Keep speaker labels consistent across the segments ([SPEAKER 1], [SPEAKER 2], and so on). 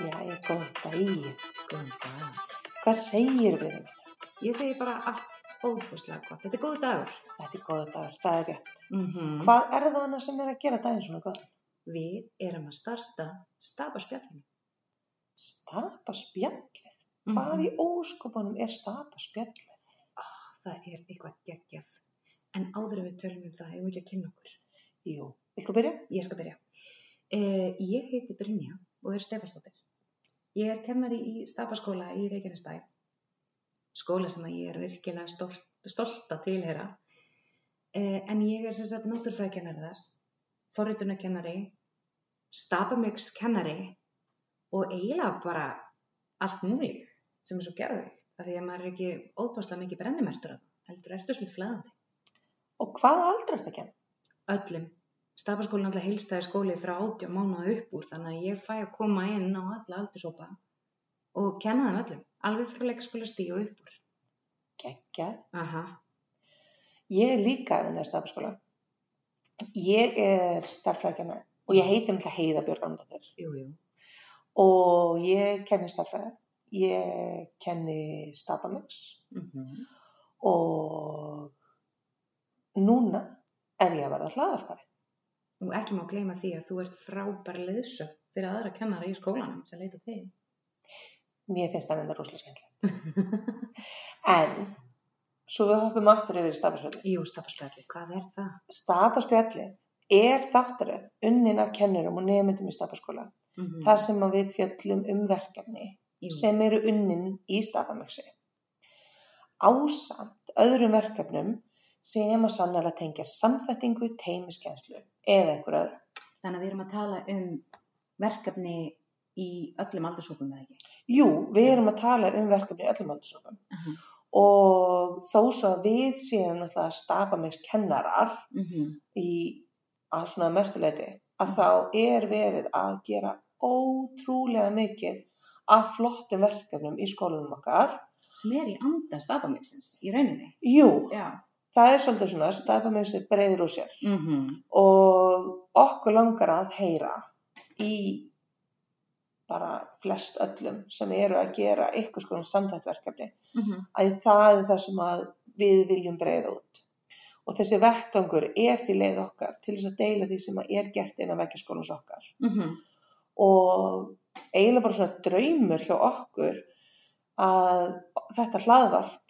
[SPEAKER 1] Jæja, góðan daginn.
[SPEAKER 2] Góðan dag.
[SPEAKER 1] Hvað segir við um þetta?
[SPEAKER 2] Ég segi bara allt óbúslega gott. Þetta er góð dagur.
[SPEAKER 1] Þetta er góða dagur, það er rétt.
[SPEAKER 2] Mm -hmm.
[SPEAKER 1] Hvað er það annars sem er að gera daginn svona góðan?
[SPEAKER 2] Við erum að starta stafaspjallinu.
[SPEAKER 1] Stapa spjallið?
[SPEAKER 2] Mm.
[SPEAKER 1] Hvað í óskopunum er stapa spjallið?
[SPEAKER 2] Það er eitthvað geggjað. En áður en við tölum um það, ég vil ekki að kynna okkur.
[SPEAKER 1] Jú, viltu byrja?
[SPEAKER 2] Ég skal byrja. Eh, ég heiti Brynja og er Stefansdóttir. Ég er kennari í stafaskóla í Reykjanesbæ. Skóla sem að ég er virkilega stolt, stolt að tilhera. Eh, en ég er sem sagt náttúrfræðkennari þar, forritunarkennari, stapamökskennari og eiginlega bara allt múlík sem er svo gerðið. Af því að maður er ekki óbáslega mikið brennimertur að það. Heldur ertu svolítið flæðandi.
[SPEAKER 1] Og hvað aldrei ertu að kenna?
[SPEAKER 2] öllum. Stafaskólinn alltaf heilstæði skóli frá 18 mánuða upp úr þannig að ég fæ að koma inn á alla aldursópa og kenna þeim öllum, alveg frá leikaskóla stíu upp úr.
[SPEAKER 1] Gekkja.
[SPEAKER 2] Aha,
[SPEAKER 1] Ég er líka að vinna í stapaskóla. Ég er starffræðkennari og ég heiti náttúrulega Heiða Björg Andardóttir
[SPEAKER 2] jú, jú.
[SPEAKER 1] og ég kenni starffræði. Ég kenni stapamix
[SPEAKER 2] Mm -hmm.
[SPEAKER 1] og núna er ég að verða hlaðarpari.
[SPEAKER 2] Og ekki má gleyma því að þú ert frábær leðsöf fyrir aðra kennara í skólanum sem leita þig.
[SPEAKER 1] Mér finnst það enda rosalega skemmtilegt. en svo við hoppum aftur yfir í stafaspjallið.
[SPEAKER 2] Jú, stafaspjalli, hvað er það?
[SPEAKER 1] Stafaspjallið er þáttaröð unnin af kennurum og nefndum í stafaskóla.
[SPEAKER 2] Mm -hmm.
[SPEAKER 1] þar sem að við fjöllum um verkefni sem eru unnin í stafamöksi. Ásamt öðrum verkefnum sem að sannlega tengja samþættingu, teimiskennslu eða einhver öðru.
[SPEAKER 2] Þannig að við erum að tala um verkefni í öllum aldursópum eða ekki.
[SPEAKER 1] Jú, við erum að tala um verkefni í öllum aldursókum
[SPEAKER 2] Aha.
[SPEAKER 1] og þó svo að við séum náttúrulega stafamöks kennarar
[SPEAKER 2] Mm
[SPEAKER 1] í að svona mestuleiti að þá er verið að gera ótrúlega mikið af flottum verkefnum í skólanum okkar.
[SPEAKER 2] Sem er í anda stafamixins í rauninni.
[SPEAKER 1] Jú,
[SPEAKER 2] Já.
[SPEAKER 1] það er svolítið svona stafamessi breyður úr sér
[SPEAKER 2] Mm
[SPEAKER 1] og okkur langar að heyra í bara flest öllum sem eru að gera eitthvað skoðum samtættverkefni
[SPEAKER 2] Mhm.
[SPEAKER 1] að það er það sem að við viljum breyða út og þessi vettangur er því leið okkar til þess að deila því sem að er gert innan vekkjaskólans okkar
[SPEAKER 2] Mhm.
[SPEAKER 1] og eiginlega bara svona draumur hjá okkur að þetta hlaðvarp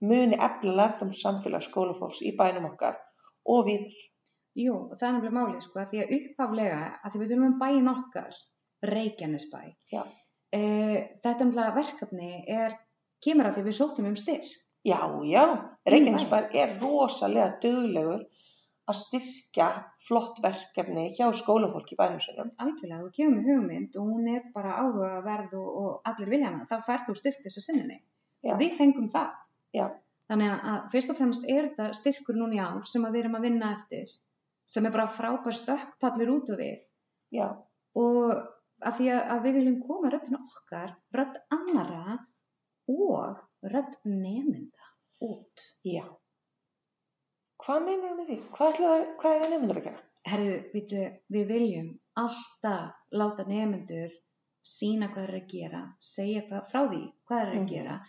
[SPEAKER 1] muni efla lærdum samfélag skólafólks í bænum okkar og við
[SPEAKER 2] Jú, og það er nefnilega málið sko, að því að upphaflega, að því við erum um bæin okkar, Reykjanesbæ,
[SPEAKER 1] Já.
[SPEAKER 2] e, þetta nefnilega verkefni er, kemur að því við sóttum um styrk.
[SPEAKER 1] já, já, Reykjanesbær er rosalega duglegur að styrkja flott verkefni hjá skólafólk í bænum sinum
[SPEAKER 2] Algjörlega, þú kemur með hugmynd og hún er bara áhugaverð og, og allir vilja hana, þá færð þú styrk til þess að sinni.
[SPEAKER 1] Já.
[SPEAKER 2] Og við fengum það.
[SPEAKER 1] Já.
[SPEAKER 2] Þannig að- að fyrst og fremst er þetta styrkur núna í ár sem að við erum að vinna eftir, sem er bara frábær stökkpallur út og við
[SPEAKER 1] já,
[SPEAKER 2] og að því að, að við viljum koma röddin okkar, rödd annara og rödd nemynda út.
[SPEAKER 1] já hvað meinar með því? hvað, ætla, hvað er nefndur að gera?
[SPEAKER 2] Herðu, við, við viljum alltaf láta nemyndur sína hvað þeir eru að gera, segja hvað, frá því hvað þeir eru
[SPEAKER 1] Mhm.
[SPEAKER 2] að gera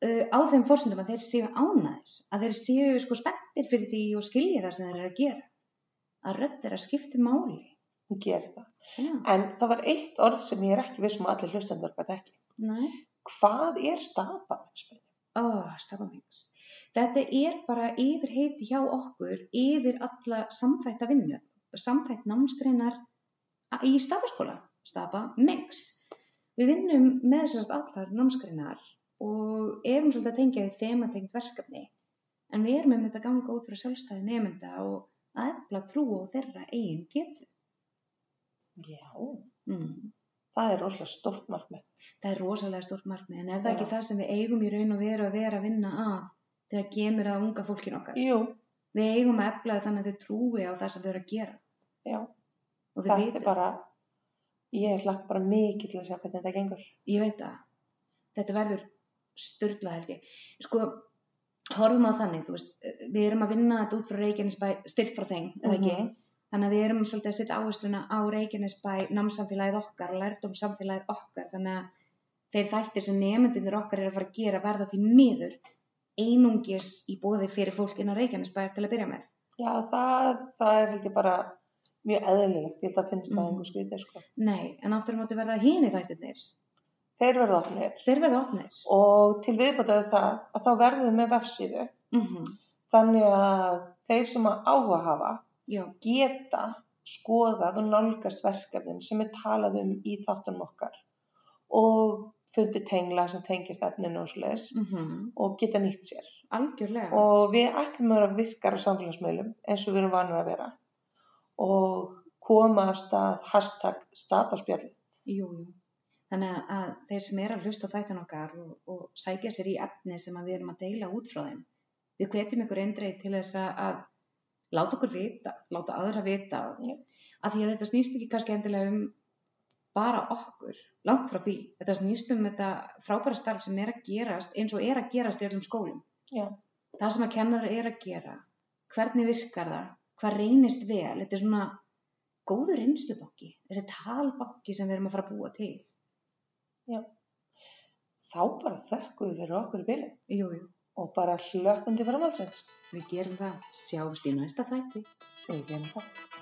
[SPEAKER 2] uh, á þeim fórsendum að þeir séu ánæður, að þeir séu sko spenntir fyrir því og skilja það sem þeir eru að gera. Að rödd þeirra skipti máli.
[SPEAKER 1] hún gerir það
[SPEAKER 2] Já,
[SPEAKER 1] en það var eitt orð sem ég er ekki vissum að allir hlustendur hvað ekki
[SPEAKER 2] næ.
[SPEAKER 1] hvað er stafamensmenn?
[SPEAKER 2] Oh, stafamings. Þetta er bara yfir heiti hjá okkur, yfir alla samþætta vinnu, samþætt námsgreinar a- í stafaskóla, stafamings. Við vinnum með sérst allar námsgreinar og erum svolítið að tengja við þematengt verkefni. En við erum með þetta ganga út frá sjálfstæði nefnda og að efla trú á þeirra eigin getu.
[SPEAKER 1] já,
[SPEAKER 2] Mm.
[SPEAKER 1] það er rosalega stórt markmið
[SPEAKER 2] Það er rosalega stórt markmið, en er það
[SPEAKER 1] Já.
[SPEAKER 2] ekki það sem við eigum í raun og veru að vera að vinna að þegar gemur að unga fólkin okkar?
[SPEAKER 1] jú,
[SPEAKER 2] Við eigum að efla þau þannig að þau trúi á það sem þau eru að gera
[SPEAKER 1] já
[SPEAKER 2] og þau
[SPEAKER 1] þetta
[SPEAKER 2] veit,
[SPEAKER 1] er bara ég hlakka bara mikið til að sjá hvernig þetta gengur
[SPEAKER 2] ég veit að þetta verður styrla held ég sko, horfum á þannig þú veist, við erum að vinna þetta út frá Reykjanesbæ styrk frá þeim, eða ekki
[SPEAKER 1] Mhm.
[SPEAKER 2] þannig að við erum svolítið að setja áhersluna á Reykjanesbæ námsamfélagið okkar og lærdomsamfélagið okkar þannig að þeir þættir sem nefndunir okkar eru að fara að gera verða því miður einungis í bóði fyrir fólk inn á Reykjanesbæ til að byrja með
[SPEAKER 1] Já, það, það er held ég bara mjög eðlilegt, ég held að finnst
[SPEAKER 2] Mhm.
[SPEAKER 1] það einhver skrítið sko.
[SPEAKER 2] nei, en aftur á móti verða hini þættirnir
[SPEAKER 1] Þeir verða opnir
[SPEAKER 2] þeir verða opnir
[SPEAKER 1] og til viðbætaðu það að þá verðum við með vefsíðu
[SPEAKER 2] mm
[SPEAKER 1] Mhm. þannig að þeir sem að áhuga hafa
[SPEAKER 2] já,
[SPEAKER 1] geta skoðað og nálgast verkefnin sem er talað um í þáttunum okkar og fundi tengla sem tengist efninu og svoleiðis
[SPEAKER 2] mm
[SPEAKER 1] og geta nýtt sér.
[SPEAKER 2] algjörlega
[SPEAKER 1] Mhm. Og við ætlum að vera virkar á samfélagsmiðlum eins og við erum vanur að vera og koma að stað hashtag statarspjall.
[SPEAKER 2] Jú, jú. Þannig að þeir sem eru að hlusta á þættan okkar og, og sækja sér í efni sem að við erum að deila út frá þeim. Við hvetjum ykkur eindreið til þess að- að láta okkur vita, láta aðra vita.
[SPEAKER 1] Já.
[SPEAKER 2] Af því að þetta snýst ekki kannski endilega um bara okkur, langt frá því. Þetta snýst um þetta frábæra starf sem er að gerast eins og er að gerast í öllum skólum.
[SPEAKER 1] Já.
[SPEAKER 2] Það sem að kennar er að gera, hvernig virkar það, hvað reynist vel, þetta er svona góður einslubanki, þessi talbanki sem við erum að fara að búa til.
[SPEAKER 1] Þá bara þökkum við fyrir okkur í bili
[SPEAKER 2] Jú, jú,
[SPEAKER 1] og bara hlökkum til framhaldsins.
[SPEAKER 2] við gerum það. Sjáumst í næsta þætti.
[SPEAKER 1] Við gerum það.